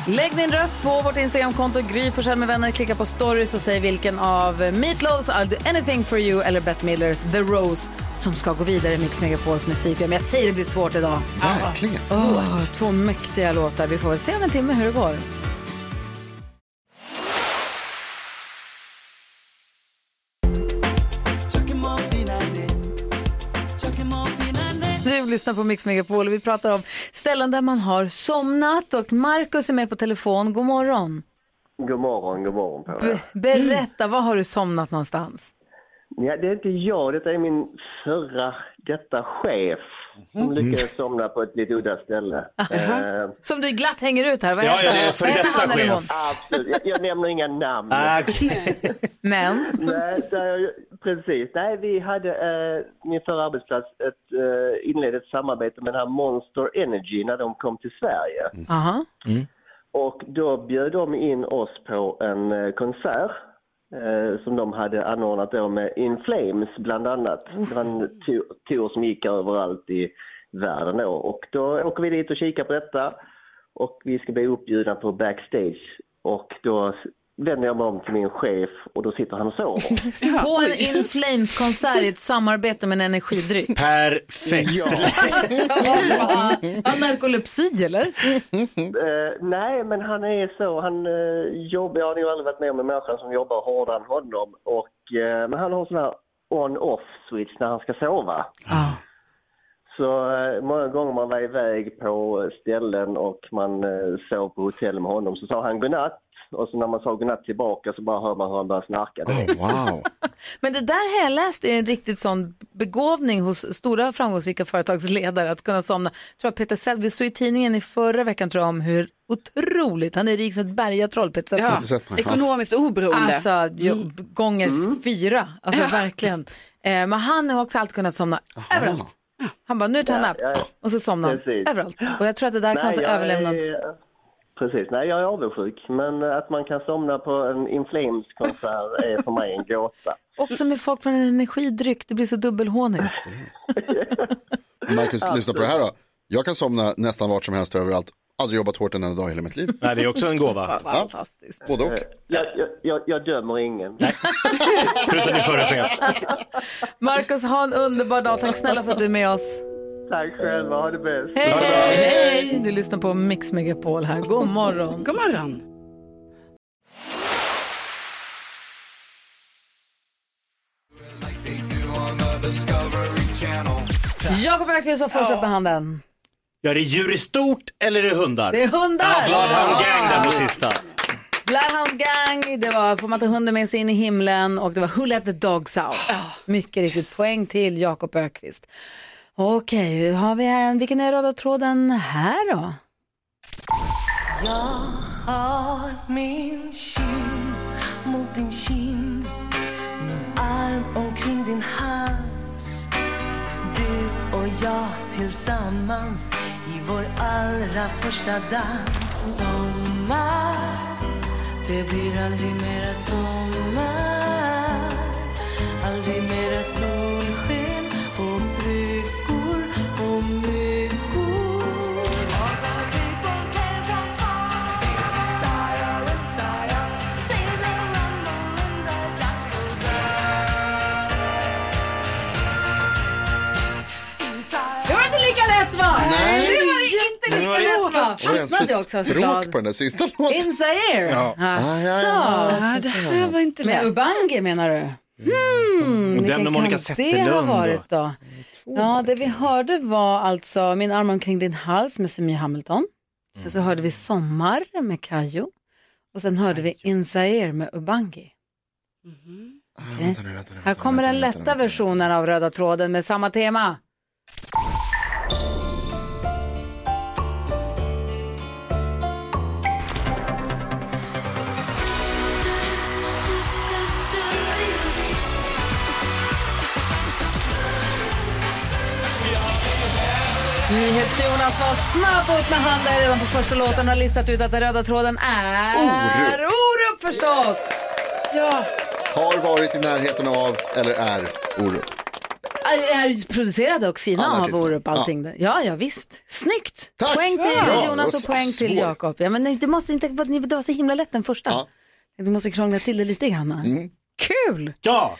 [SPEAKER 1] Lägg din röst på vårt Instagramkonto Gry Forssell med vänner. Klicka på stories och säg vilken av Meatloafs I'll do anything for you eller Bette Millers The Rose som ska gå vidare i Mix Megapols musik-VM. Jag säger det blir svårt idag.
[SPEAKER 3] Verkligen.
[SPEAKER 1] Åh, två mäktiga låtar. Vi får väl se om en timme hur det går. Du lyssnar på Mix Megapol och vi pratar om ställen där man har somnat och Markus är med på telefon. God morgon.
[SPEAKER 8] God morgon, god morgon på
[SPEAKER 1] B-
[SPEAKER 8] er.
[SPEAKER 1] berätta, var har du somnat någonstans?
[SPEAKER 8] Ja, det är inte jag, detta är min förra, detta chef som lyckades somna på ett lite udda ställe. Eh,
[SPEAKER 1] Som du glatt hänger ut här. Vad
[SPEAKER 2] Ja,
[SPEAKER 1] heter
[SPEAKER 2] ja, det är
[SPEAKER 1] han?
[SPEAKER 2] för
[SPEAKER 1] Vad heter
[SPEAKER 2] detta
[SPEAKER 1] han eller
[SPEAKER 2] chef.
[SPEAKER 1] hon?
[SPEAKER 8] absolut. Jag, jag nämner inga namn.
[SPEAKER 2] Ah,
[SPEAKER 1] Men,
[SPEAKER 8] Nej, där jag, precis. Nej, vi hade, eh, min förra arbetsplats, ett, eh, inledde ett samarbete med den här Monster Energy när de kom till Sverige.
[SPEAKER 2] Mm.
[SPEAKER 1] aha.
[SPEAKER 8] Och då bjöd de in oss på en eh, konsert eh, som de hade anordnat då med In Flames bland annat. Det var en tu- tur som gick överallt i världen då. Och då åker vi dit och kikar på detta och vi ska bli uppbjudna på backstage. Och då s- vänder jag mig om till min chef och då sitter han och sover.
[SPEAKER 1] På en In Flames-konsert i ett samarbete med en energidryck.
[SPEAKER 2] perfekt.
[SPEAKER 1] Har han narkolepsi eller?
[SPEAKER 8] Eh, nej, men han är så. Han eh, jobbar, jag har ju aldrig varit med om en människa som jobbar hårdare än honom. Och, eh, men han har sån här on-off switch när han ska sova. Så eh, många gånger man var iväg på ställen och man eh, sov på hotell med honom så sa han godnatt. Och så när man sa godnatt tillbaka så bara hör man hur han börjar snarka. direkt.
[SPEAKER 3] Oh, wow.
[SPEAKER 1] Men det där har jag läst är en riktigt sån begåvning hos stora framgångsrika företagsledare att kunna somna. Jag tror att Peter Sellberg, det stod i tidningen i förra veckan tror jag om hur otroligt, han är rik som ett bergatroll, Peter Sellberg.
[SPEAKER 5] Ja,
[SPEAKER 3] Inte sett mig.
[SPEAKER 5] ekonomiskt oberoende.
[SPEAKER 1] Alltså jo, gånger fyra, alltså verkligen. Eh, men han har också alltid kunnat somna överallt. Han bara, nu tar han napp
[SPEAKER 8] ja, ja.
[SPEAKER 1] och så somnar han
[SPEAKER 8] Precis.
[SPEAKER 1] överallt. Och jag tror att det där kan alltså vara så
[SPEAKER 8] jag är-
[SPEAKER 1] överlevnads...
[SPEAKER 8] Precis, nej jag är avundsjuk. Men att man kan somna på en In Flames-konsert är för mig en gåta.
[SPEAKER 1] Också med folk från en energidryck, det blir så dubbelhånigt.
[SPEAKER 3] Marcus, lyssna på det här då. Jag kan somna nästan vart som helst överallt. Aldrig jobbat hårt en enda dag i hela mitt liv.
[SPEAKER 2] Nej, det är också en gåva.
[SPEAKER 1] Fantastiskt.
[SPEAKER 3] Både och.
[SPEAKER 8] Jag, jag, jag, jag dömer ingen.
[SPEAKER 2] Förutom din förra chef.
[SPEAKER 1] Marcus, ha en underbar dag. Tack snälla för att du är med oss.
[SPEAKER 8] Tack själva, ha det bäst.
[SPEAKER 1] Hej! Hej! Du lyssnar på Mix Megapol här. God morgon.
[SPEAKER 5] God morgon.
[SPEAKER 1] Jakob Öqvist har först upp med handen.
[SPEAKER 2] Ja, det är djur i stort eller är det hundar?
[SPEAKER 1] Det är hundar!
[SPEAKER 2] Bloodhound gang där på sista.
[SPEAKER 1] Bloodhound Gang, det var Får man ta hunden med sig in i himlen och det var Who let the dogs out. Mycket riktigt, poäng till Jakob Ökvist. Okej, hur har vi en, vilken är röda tråden här då? Det var inte lika lätt va?
[SPEAKER 3] Nej.
[SPEAKER 1] Det var inte lika lätt va?
[SPEAKER 3] Var det ens
[SPEAKER 1] Fastnade också
[SPEAKER 3] för
[SPEAKER 1] såklart.
[SPEAKER 3] språk på den där sista låten?
[SPEAKER 1] Inside ear?
[SPEAKER 3] Ah, Ja, ja,
[SPEAKER 1] Alltså.
[SPEAKER 5] Ja, det här var inte
[SPEAKER 1] Med
[SPEAKER 5] lätt.
[SPEAKER 1] Ubangi menar du? Mm,
[SPEAKER 2] Och den
[SPEAKER 1] vilken
[SPEAKER 2] med Monica
[SPEAKER 1] kan
[SPEAKER 2] Zetterlund
[SPEAKER 1] Det ha
[SPEAKER 2] då?
[SPEAKER 1] varit då. Ja, det vi hörde var alltså Min arm omkring din hals med Semi Hamilton. Sen
[SPEAKER 2] Mm.
[SPEAKER 1] så hörde vi Sommar med Kayo. Och sen hörde vi Insair med Ubangi.
[SPEAKER 3] Ah, vänta nu, vänta nu,
[SPEAKER 1] Här
[SPEAKER 3] vänta nu,
[SPEAKER 1] kommer
[SPEAKER 3] vänta
[SPEAKER 1] den
[SPEAKER 3] nu,
[SPEAKER 1] lätta
[SPEAKER 3] vänta nu, vänta nu.
[SPEAKER 1] versionen av Röda tråden med samma tema. NyhetsJonas var snabb upp med handen redan på första låten och har listat ut att den röda tråden är
[SPEAKER 3] Orup.
[SPEAKER 1] Orup förstås.
[SPEAKER 5] Ja.
[SPEAKER 3] Har varit i närheten av, eller är, Orup.
[SPEAKER 1] Äh, Är är producerad och
[SPEAKER 3] Alla
[SPEAKER 1] sina av
[SPEAKER 3] artister.
[SPEAKER 1] Orup allting. där. Ja, ja visst. Snyggt!
[SPEAKER 3] Tack.
[SPEAKER 1] Poäng till
[SPEAKER 3] Bra,
[SPEAKER 1] Jonas
[SPEAKER 3] det
[SPEAKER 1] och
[SPEAKER 3] var
[SPEAKER 1] poäng till
[SPEAKER 3] svår.
[SPEAKER 1] Jakob. Ja, men nej, det måste inte vara, det var så himla lätt den första.
[SPEAKER 3] Ja. Mm.
[SPEAKER 1] Du måste krångla till det lite grann. Kul!
[SPEAKER 2] Ja,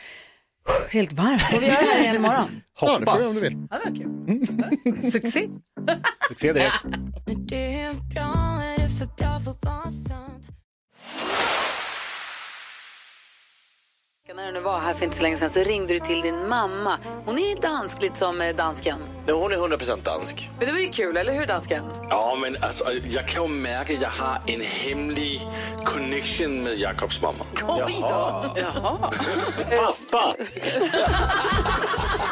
[SPEAKER 1] Helt varmt. Får vi göra det här igen imorgon?
[SPEAKER 3] Ja, det får du om
[SPEAKER 2] hoppas.
[SPEAKER 3] du vill.
[SPEAKER 1] Ja, det var kul. Succé.
[SPEAKER 2] Succé direkt.
[SPEAKER 1] När du nu var här för inte så länge sedan så ringde du till din mamma. Hon är dansk, lite som eh, dansken.
[SPEAKER 9] Hon är 100% dansk.
[SPEAKER 1] Men det var ju kul, eller hur dansken?
[SPEAKER 9] Ja, men alltså, jag kan ju märka att jag har en hemlig connection med Jakobs mamma.
[SPEAKER 1] Oj då!
[SPEAKER 2] Pappa!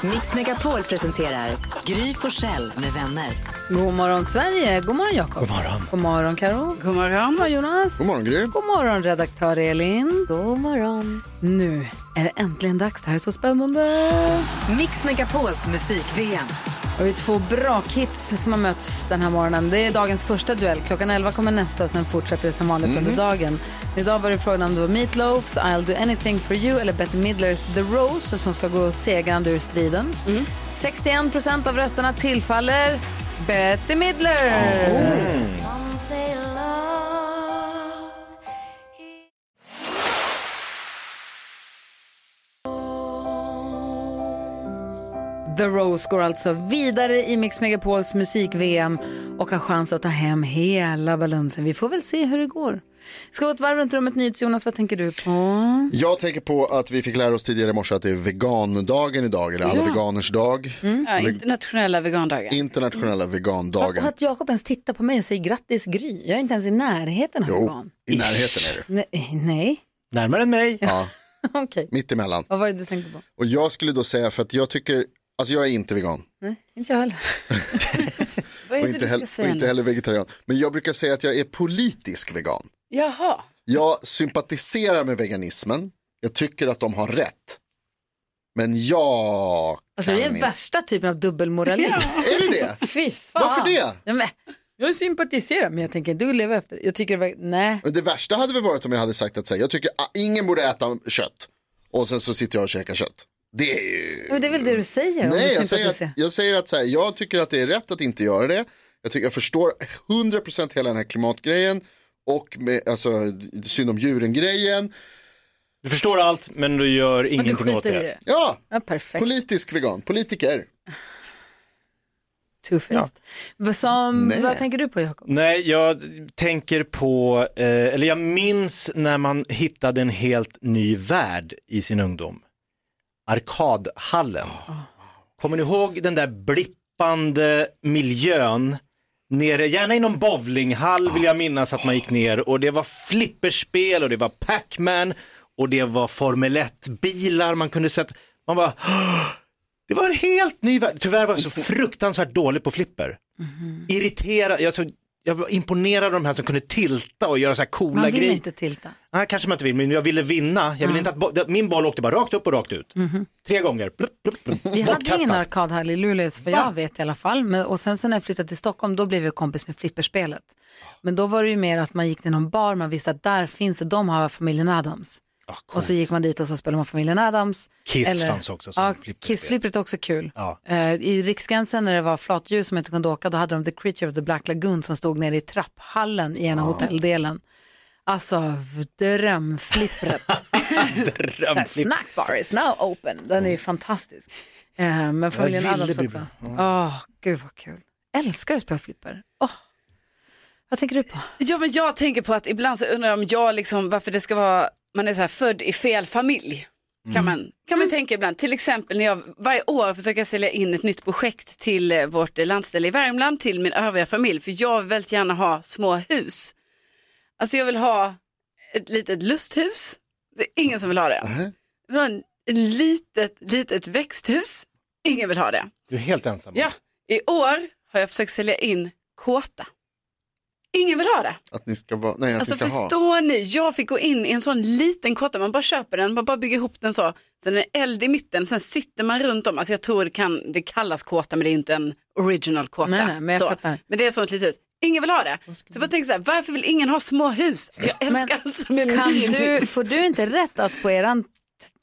[SPEAKER 4] Mix Megapol presenterar Gry Forssell med vänner.
[SPEAKER 1] God morgon Sverige, god morgon Jakob. God morgon. God morgon Karo.
[SPEAKER 5] God
[SPEAKER 1] God
[SPEAKER 5] morgon.
[SPEAKER 1] morgon Jonas.
[SPEAKER 3] God morgon Gry.
[SPEAKER 1] God morgon redaktör Elin.
[SPEAKER 4] God morgon.
[SPEAKER 1] Nu är det äntligen dags. Det här är så spännande.
[SPEAKER 4] Mix Megapols musik-VM.
[SPEAKER 1] Och vi har två bra kids som har mötts den här morgonen. Det är dagens första duell. Klockan 11 kommer nästa och sen fortsätter det som vanligt under dagen. Idag var det frågan om det var Meat Loafs, I'll do anything for you eller Betty Midlers The Rose som ska gå segrande ur striden. 61 procent av rösterna tillfaller Betty Midler. The Rose går alltså vidare i Mix Megapols musik-VM och har chans att ta hem hela balansen. Vi får väl se hur det går. Ska vi gå ett varv runt rummet nytt. Jonas, vad tänker du på?
[SPEAKER 3] Jag tänker på att vi fick lära oss tidigare i morse att det är vegandagen idag, eller alla veganers dag.
[SPEAKER 1] Mm.
[SPEAKER 5] Ja, internationella vegandagen.
[SPEAKER 3] Internationella
[SPEAKER 1] Och
[SPEAKER 3] vegandagen.
[SPEAKER 1] att Jakob ens tittar på mig och säger grattis Gry. Jag är inte ens i närheten av
[SPEAKER 3] Jo,
[SPEAKER 1] vegan.
[SPEAKER 3] i närheten är du.
[SPEAKER 1] Nej, *laughs* nej.
[SPEAKER 2] Närmare än mig.
[SPEAKER 3] Ja.
[SPEAKER 1] Okej.
[SPEAKER 3] mitt emellan.
[SPEAKER 1] Vad var det du tänkte på?
[SPEAKER 3] Och jag skulle då säga för att jag tycker, alltså jag är inte vegan.
[SPEAKER 1] Nej, inte jag heller. Vad är
[SPEAKER 3] Och
[SPEAKER 1] det du
[SPEAKER 3] inte,
[SPEAKER 1] ska
[SPEAKER 3] heller, och
[SPEAKER 1] säga
[SPEAKER 3] inte
[SPEAKER 1] nu?
[SPEAKER 3] heller vegetarian. Men jag brukar säga att jag är politisk vegan.
[SPEAKER 5] Jaha,
[SPEAKER 3] Jag sympatiserar med veganismen. Jag tycker att de har rätt. Men jag
[SPEAKER 1] Alltså,
[SPEAKER 3] kan
[SPEAKER 1] det är den
[SPEAKER 3] inte.
[SPEAKER 1] värsta typen av *laughs* dubbelmoralist.
[SPEAKER 3] Är det det?
[SPEAKER 1] Fy fan.
[SPEAKER 3] Varför det?
[SPEAKER 1] Ja, men, jag sympatiserar, men jag tänker du lever efter. Jag tycker verk- nej.
[SPEAKER 3] Men Det värsta hade väl varit om jag hade sagt att så här, jag tycker ah, ingen borde äta kött. Och sen så sitter jag och käkar kött. Det är ju...
[SPEAKER 1] Men det är väl det du säger? om
[SPEAKER 3] Nej,
[SPEAKER 1] du
[SPEAKER 3] jag säger att,
[SPEAKER 1] sympatiserar.
[SPEAKER 3] jag, säger att så här, jag tycker att det är rätt att inte göra det. Jag, tycker, jag förstår 100% hela den här klimatgrejen och med, alltså, synd om djuren-grejen.
[SPEAKER 2] Du förstår allt men du
[SPEAKER 1] Men
[SPEAKER 2] gör
[SPEAKER 1] du
[SPEAKER 2] ingenting åt
[SPEAKER 1] skiter i
[SPEAKER 2] det.
[SPEAKER 1] det.
[SPEAKER 3] Ja,
[SPEAKER 1] Ja, perfekt.
[SPEAKER 3] politisk vegan, politiker.
[SPEAKER 1] Two-faced. Vad Som,
[SPEAKER 3] Nej.
[SPEAKER 1] vad tänker du på Jakob?
[SPEAKER 2] Nej, jag tänker på, eh, eller jag minns när man hittade en helt ny värld i sin ungdom. Arkadhallen. Kommer ni ihåg den där blippande miljön? Nere, gärna i någon bowlinghall vill jag minnas att man gick ner och det var flipperspel och det var Pac-Man och det var Formel 1-bilar man kunde sätta. Man bara, "Åh!" det var en helt ny värld. Tyvärr var jag så fruktansvärt dålig på flipper irriterad, alltså, jag var imponerad av de här som kunde tilta och göra så här coola
[SPEAKER 1] Man vill
[SPEAKER 2] grejer.
[SPEAKER 1] inte tilta.
[SPEAKER 2] Nej, kanske man inte vill, men jag ville vinna. Jag ville inte att bo- min boll åkte bara rakt upp och rakt ut. Tre gånger. Plupp, plupp, plupp.
[SPEAKER 1] Mhm. Vi hade
[SPEAKER 2] Bortkastad.
[SPEAKER 1] ingen arkad här i Luleå, vad jag vet i alla fall. Men, och sen så när jag flyttade till Stockholm, då blev jag kompis med flipperspelet. Men då var det ju mer att man gick till någon bar, man visste att där finns det, de har familjen Adams. och så gick man dit och så spelade man familjen Adams.
[SPEAKER 2] Kiss fanns också som
[SPEAKER 1] ja,
[SPEAKER 2] flipperspel.
[SPEAKER 1] Kiss-flippret är också kul.
[SPEAKER 2] Ja.
[SPEAKER 1] Eh, I Riksgränsen när det var flatdjur som inte kunde åka, då hade de The Creature of the Black Lagoon som stod nere i trapphallen i ena hotelldelen. Alltså, v-
[SPEAKER 5] *laughs*
[SPEAKER 1] drömflippret.
[SPEAKER 2] Drömflipp.
[SPEAKER 1] Snackbar is now open. Den är ju fantastisk. Eh, men familjen
[SPEAKER 2] ville
[SPEAKER 1] Adams
[SPEAKER 2] bli
[SPEAKER 1] också.
[SPEAKER 2] bra.
[SPEAKER 1] Åh, gud vad kul. Älskar att spela flipper. Åh. Vad tänker du på?
[SPEAKER 5] ja, men jag tänker på att ibland så undrar jag om jag liksom, varför det ska vara, man är så här född i fel familj. Kan man, kan man tänka ibland, till exempel när jag varje år försöker sälja in ett nytt projekt till eh, vårt eh, landställe i Värmland, till min övriga familj, för jag vill väldigt gärna ha små hus. Alltså jag vill ha ett litet lusthus, det är ingen som vill ha det.
[SPEAKER 3] Nej.
[SPEAKER 5] Jag vill ha en- ett litet, litet växthus, ingen vill ha det.
[SPEAKER 2] Du är helt ensam.
[SPEAKER 5] Ja, i år har jag försökt sälja in kåta. Ingen vill ha det.
[SPEAKER 3] Att ni ska vara, nej att
[SPEAKER 5] Alltså
[SPEAKER 3] ni ska ha.
[SPEAKER 5] förstår ni, jag fick gå in i en sån liten kåta, man bara köper den, man bara bygger ihop den så. Sen är det eld i mitten, sen sitter man runt om. Alltså jag tror det, kan, det kallas kåta men det är inte en original kåta.
[SPEAKER 1] Nej, nej, men jag
[SPEAKER 5] så.
[SPEAKER 1] fattar.
[SPEAKER 5] men det är ett sånt litet hus. Ingen vill ha det. Så jag bara tänker så här, varför vill ingen ha små hus? Jag
[SPEAKER 1] Men
[SPEAKER 5] älskar allt som är
[SPEAKER 1] Kan
[SPEAKER 5] min.
[SPEAKER 1] du, får du inte rätt att på eran t-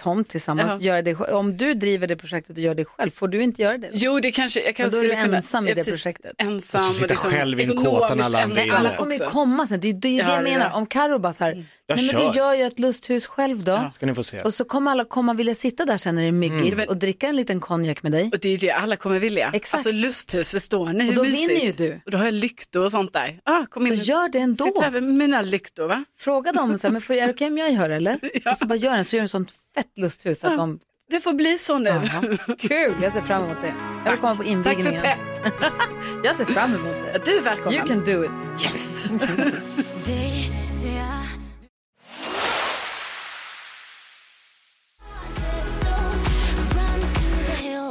[SPEAKER 1] tomt tillsammans
[SPEAKER 5] Jaha.
[SPEAKER 1] göra det sj- Om du driver det projektet och gör det själv, får du inte göra det?
[SPEAKER 5] Jo, det kanske, jag kanske
[SPEAKER 1] då är
[SPEAKER 5] skulle
[SPEAKER 1] du
[SPEAKER 5] kunna,
[SPEAKER 1] ensam i
[SPEAKER 5] Ja,
[SPEAKER 1] det
[SPEAKER 5] precis.
[SPEAKER 1] projektet.
[SPEAKER 5] Ensam. liksom
[SPEAKER 2] Och så Alltså, sitta själv i en kåta när
[SPEAKER 5] ekonomiskt Alltså,
[SPEAKER 2] alla andra är
[SPEAKER 5] ensam
[SPEAKER 2] inne.
[SPEAKER 1] Alla kommer ju
[SPEAKER 5] också.
[SPEAKER 1] komma sen. Det är det, är det
[SPEAKER 5] Ja,
[SPEAKER 1] jag
[SPEAKER 5] det är det. Mm.
[SPEAKER 1] menar. Om Karo bara så här, nej men
[SPEAKER 2] kör.
[SPEAKER 1] du gör ju ett lusthus själv då.
[SPEAKER 2] Ska ni få se.
[SPEAKER 1] Och så kommer alla komma vilja sitta där sen när det är
[SPEAKER 5] Mm.
[SPEAKER 1] myggigt och dricka en liten konjak med dig.
[SPEAKER 5] Och det är det alla kommer vilja.
[SPEAKER 1] Exakt.
[SPEAKER 5] Alltså lusthus, förstår ni hur
[SPEAKER 1] Och då
[SPEAKER 5] mysigt?
[SPEAKER 1] vinner ju du.
[SPEAKER 5] Och då har jag lyktor och sånt där. Ah, kom
[SPEAKER 1] Så
[SPEAKER 5] in.
[SPEAKER 1] gör det ändå.
[SPEAKER 5] Sitt här med mina lyktor va?
[SPEAKER 1] Fråga dem, så här, men får, är det okej om jag gör det,
[SPEAKER 5] *laughs*
[SPEAKER 1] eller? Och så bara gör den, så gör en sånt fett lusthus att de...
[SPEAKER 5] Det får bli så *laughs* nu.
[SPEAKER 1] Ja, kul, jag ser fram emot det. Jag vill komma på
[SPEAKER 5] Tack för
[SPEAKER 1] invigningen.
[SPEAKER 5] pepp.
[SPEAKER 1] *laughs* Jag ser fram emot det.
[SPEAKER 5] Du är välkommen.
[SPEAKER 1] You can do it.
[SPEAKER 5] *laughs* Yes.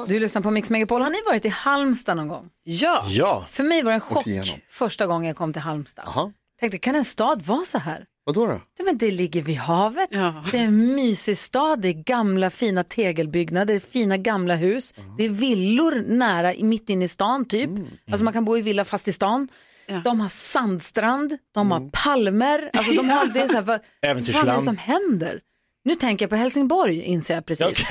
[SPEAKER 1] Du lyssnar på Mix Megapol. Har ni varit i Halmstad någon gång?
[SPEAKER 5] Ja.
[SPEAKER 2] Ja.
[SPEAKER 1] För mig var det en chock
[SPEAKER 3] igenom.
[SPEAKER 1] första gången jag kom till Halmstad.
[SPEAKER 3] Jaha,
[SPEAKER 1] Tänkte, kan en stad vara så här?
[SPEAKER 3] vadå då?
[SPEAKER 1] Ja, men det ligger vid havet.
[SPEAKER 5] Ja.
[SPEAKER 1] Det är en mysig stad. Det är gamla fina tegelbyggnader, fina gamla hus. Det är villor nära, i- mitt inne i stan typ. Alltså man kan bo i villa fast i stan.
[SPEAKER 5] Mm. Ja. Mm.
[SPEAKER 1] De har sandstrand, de har palmer. Alltså de
[SPEAKER 5] *laughs*
[SPEAKER 1] har, det är så här, vad fan är det
[SPEAKER 2] Äventyrsland.
[SPEAKER 1] som händer? Nu tänker jag på Helsingborg inser jag precis.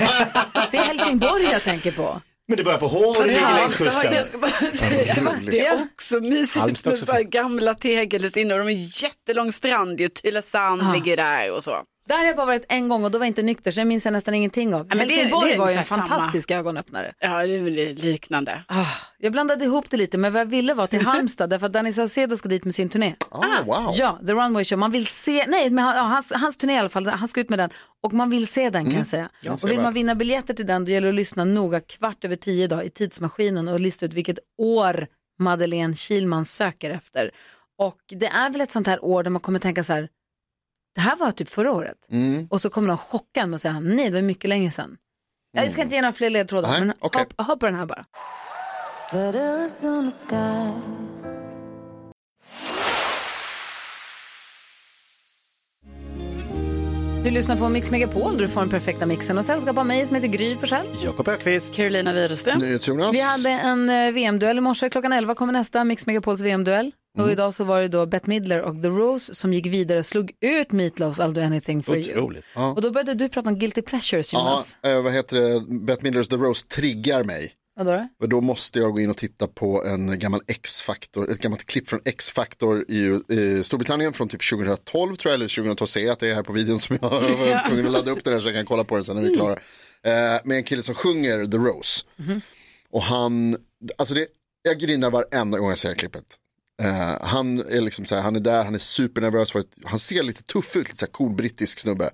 [SPEAKER 1] Det är Helsingborg jag tänker på.
[SPEAKER 2] Men det börjar på H och det ligger längs
[SPEAKER 5] Halmstad var-
[SPEAKER 2] kusten.
[SPEAKER 5] jag ska bara säga, *laughs*
[SPEAKER 3] vad roligt.
[SPEAKER 5] det är också mysigt
[SPEAKER 2] Halmstad
[SPEAKER 5] med
[SPEAKER 2] också
[SPEAKER 5] så här gamla tegelhus inne och de har jättelång strand ju, Tylösand ligger där och så.
[SPEAKER 1] Där har jag bara varit en gång och då var jag inte nykter så jag minns jag nästan ingenting av.
[SPEAKER 5] men det-
[SPEAKER 1] Helsingborg
[SPEAKER 5] det är
[SPEAKER 1] var ju en
[SPEAKER 5] ungefär samma.
[SPEAKER 1] fantastisk ögonöppnare.
[SPEAKER 5] Ja, det är väl liknande.
[SPEAKER 1] Ah, jag blandade ihop det lite, men vad jag ville var
[SPEAKER 3] *laughs*
[SPEAKER 1] till Halmstad, därför att Danny Saucedo ska dit med sin turné.
[SPEAKER 3] Ah, wow.
[SPEAKER 1] Ja, The Runway Show. Man vill se, nej, men han, ja, hans, hans turné i alla fall, han ska ut med den. Och man vill se den kan jag säga. och vill
[SPEAKER 3] Mm. ser
[SPEAKER 1] man
[SPEAKER 3] väl.
[SPEAKER 1] vinna biljetter till den, då gäller det att lyssna noga kvart över tio idag i tidsmaskinen och lista ut vilket år Madeleine Kilman söker efter. Och det är väl ett sånt här år där man kommer tänka så här, det här var typ förra året.
[SPEAKER 3] Mm.
[SPEAKER 1] Och så kommer någon chocka en och säga, nej det var mycket längre sedan. Jag ska inte ge några fler ledtrådar,
[SPEAKER 3] Mm. Nej,
[SPEAKER 1] men
[SPEAKER 3] okej.
[SPEAKER 1] hör, hör på den här bara. Du lyssnar på Mix Megapol, där du får den perfekta mixen och sällskap av mig som heter Gry Forssell.
[SPEAKER 2] Jakob Ökvist.
[SPEAKER 5] Carolina Widerström.
[SPEAKER 3] NyhetsJonas.
[SPEAKER 1] Vi hade en eh, VM-duell i morse. Klockan 11 kommer nästa Mix Megapols VM-duell.
[SPEAKER 3] Mm.
[SPEAKER 1] Och idag så var det då Bette Midler och The Rose som gick vidare och slog ut Meat Love's I'll do anything for you.
[SPEAKER 2] Otroligt.
[SPEAKER 1] Och då började du prata om guilty pleasures
[SPEAKER 3] Ja,
[SPEAKER 1] Jonas.
[SPEAKER 3] eh, vad heter det? Bette Midlers The Rose triggar mig.
[SPEAKER 1] Vadå då?
[SPEAKER 3] Och då måste jag gå in och titta på en gammal X-Factor, ett gammalt klipp från X-Factor i, i Storbritannien från typ 2012 tror jag, eller 2012 ser jag att det är här på videon som jag *laughs* var tvungen att ladda upp det där så jag kan kolla på den sen när vi är klara. Eh, med en kille som sjunger The Rose. Och han, alltså det, jag grinar varenda gång jag ser klippet. Eh, han är liksom så här, han är där, han är supernervös, för att, han ser lite tuff ut, lite så här cool brittisk snubbe.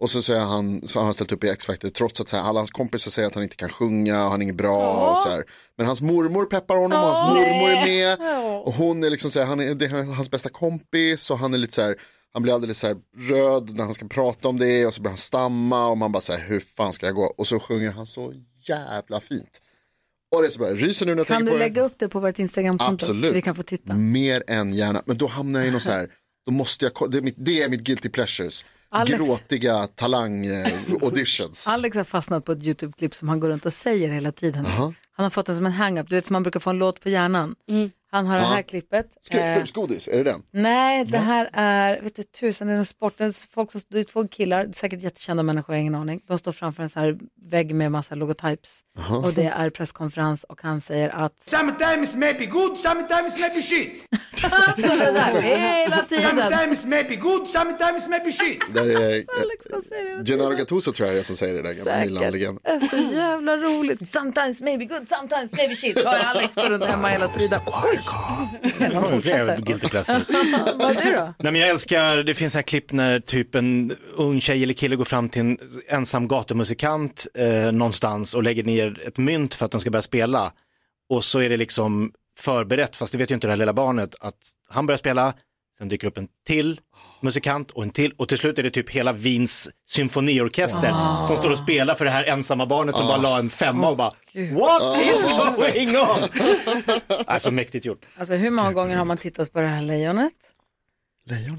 [SPEAKER 3] Och så, säger han, så har han ställt upp i X-Factor trots att så här, alla hans kompisar säger att han inte kan sjunga och han är inte bra. Och så här. Men hans mormor peppar honom och hans mormor är med. Och hon är liksom så här, han är, det är hans bästa kompis och han är lite så här, han blir alldeles så här röd när han ska prata om det och så börjar han stamma och man bara så här, hur fan ska jag gå? Och så sjunger han så jävla fint. Och det är så bara, ryser nu när jag
[SPEAKER 1] Kan
[SPEAKER 3] tänker
[SPEAKER 1] du
[SPEAKER 3] på det.
[SPEAKER 1] lägga upp det på vårt Instagram-konto så
[SPEAKER 3] Absolut. Mm.
[SPEAKER 1] vi kan få titta?
[SPEAKER 3] Mer än gärna, men då hamnar jag i någon så här, då måste jag, ko- det är mitt, det är mitt guilty pleasures.
[SPEAKER 1] Alex.
[SPEAKER 3] Gråtiga eh, talang-auditions.
[SPEAKER 1] Alex har fastnat på ett YouTube-klipp som han går runt och säger hela tiden. Han har fått den som en hang-up, du vet som man brukar få en låt på hjärnan.
[SPEAKER 5] Mm.
[SPEAKER 1] Han har det här klippet. Eh,
[SPEAKER 3] Skrubbsgodis, är det den?
[SPEAKER 1] Nej, det här är, vet du tusan, det är någon sportens folk som, det är två killar, säkert jättekända människor, jag har ingen aning. De står framför en så här vägg med massa logotypes. Och det är presskonferens och han säger att...
[SPEAKER 10] Sometimes maybe good, sometimes maybe shit.
[SPEAKER 1] Så det där, hela tiden!
[SPEAKER 10] Sometimes maybe good, sometimes maybe shit.
[SPEAKER 3] Där är, eh,
[SPEAKER 1] Alex, vad säger du?
[SPEAKER 3] Gennaro Gattuso tror jag det är som säger det där gamla Milan-legenden.
[SPEAKER 1] Det är så jävla roligt. Sometimes maybe good, sometimes maybe shit. Har Alex går runt hemma hela tiden.
[SPEAKER 2] Det var flera guilty pleasures.
[SPEAKER 1] *laughs* Vad är du då?
[SPEAKER 2] Nej, men jag älskar, det finns här klipp när typ en ung tjej eller kille går fram till en ensam gatumusikant eh, någonstans och lägger ner ett mynt för att de ska börja spela. Och så är det liksom förberett, fast det vet ju inte det här lilla barnet, att han börjar spela, sen dyker upp en till musikant och en till och till slut är det typ hela Wiens symfoniorkester
[SPEAKER 1] Ah.
[SPEAKER 2] som står och spelar för det här ensamma barnet som bara la en femma och bara What is
[SPEAKER 1] Ah.
[SPEAKER 2] going *laughs* on? alltså mäktigt gjort.
[SPEAKER 1] Alltså hur många gånger har man tittat på det här lejonet?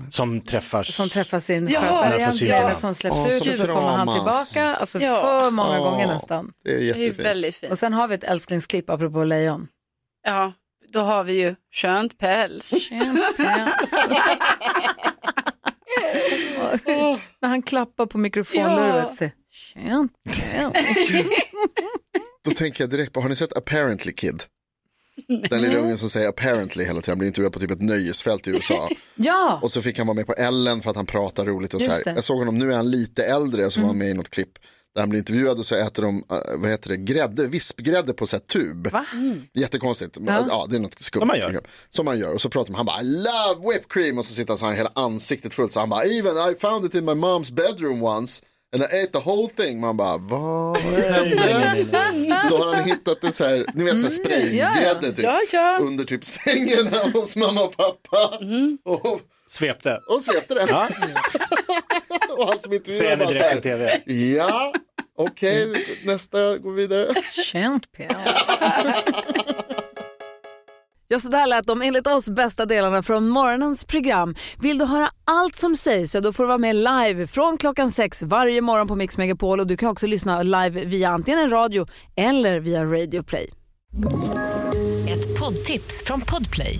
[SPEAKER 2] Som träffas.
[SPEAKER 1] Som träffar sin
[SPEAKER 5] Ja,
[SPEAKER 2] den får
[SPEAKER 1] skötare,
[SPEAKER 2] syra.
[SPEAKER 1] eller som släpps
[SPEAKER 3] Åh,
[SPEAKER 1] ut
[SPEAKER 3] som
[SPEAKER 1] och så kommer han
[SPEAKER 3] kramas.
[SPEAKER 1] tillbaka. Alltså
[SPEAKER 5] Ja.
[SPEAKER 1] för många
[SPEAKER 3] Åh.
[SPEAKER 1] gånger nästan.
[SPEAKER 3] Det är
[SPEAKER 5] Det är
[SPEAKER 3] jättefint.
[SPEAKER 5] väldigt fint.
[SPEAKER 1] Och sen har vi ett älsklingsklipp apropå lejon.
[SPEAKER 5] Ja, då har vi ju skönt päls.
[SPEAKER 1] När han klappar på mikrofonlurvet. Ja. Tjena.
[SPEAKER 3] Då tänker jag direkt på, har ni sett Apparently Kid? Den lilla ungen som säger apparently hela tiden, han blir intervjuad på typ
[SPEAKER 1] *laughs*
[SPEAKER 3] ett nöjesfält i USA.
[SPEAKER 1] Ja,
[SPEAKER 3] Och så fick han vara med på Ellen för att han pratar roligt och så
[SPEAKER 1] Just
[SPEAKER 3] här.
[SPEAKER 1] det.
[SPEAKER 3] Jag såg honom, nu är han lite äldre, så var han med i något klipp. Där han blir intervjuad och så äter de, eh, vad heter det, grädde, vispgrädde på så här tub. Mm.
[SPEAKER 1] Va?
[SPEAKER 3] Jättekonstigt, ja. ja det är något skumt.
[SPEAKER 2] Som man gör.
[SPEAKER 3] Som man gör. Och så pratar man, han bara I love whipped cream och så sitter han så här hela ansiktet fullt så han bara even I found it in my mom's bedroom once and I ate the whole thing. Man bara vad hände? Då har han hittat det så här, ni vet så här spraygrädde typ.
[SPEAKER 5] Ja, ja.
[SPEAKER 3] Under typ sängen här hos mamma och pappa. Och,
[SPEAKER 2] Svepte.
[SPEAKER 3] och svepte det.
[SPEAKER 2] Ja,
[SPEAKER 3] *laughs* Och han som intervjuar
[SPEAKER 2] säger ni
[SPEAKER 3] bara så
[SPEAKER 2] direkt till
[SPEAKER 3] här.
[SPEAKER 2] tv.
[SPEAKER 3] Ja, okej, nästa går vidare.
[SPEAKER 1] känt päls. Ja, så där lät de enligt oss bästa delarna från morgonens program. Vill du höra allt som sägs så då får du vara med live från klockan sex varje morgon på Mix Megapol och du kan också lyssna live via antingen en radio eller via Radio Play.
[SPEAKER 11] Ett poddtips från Podplay.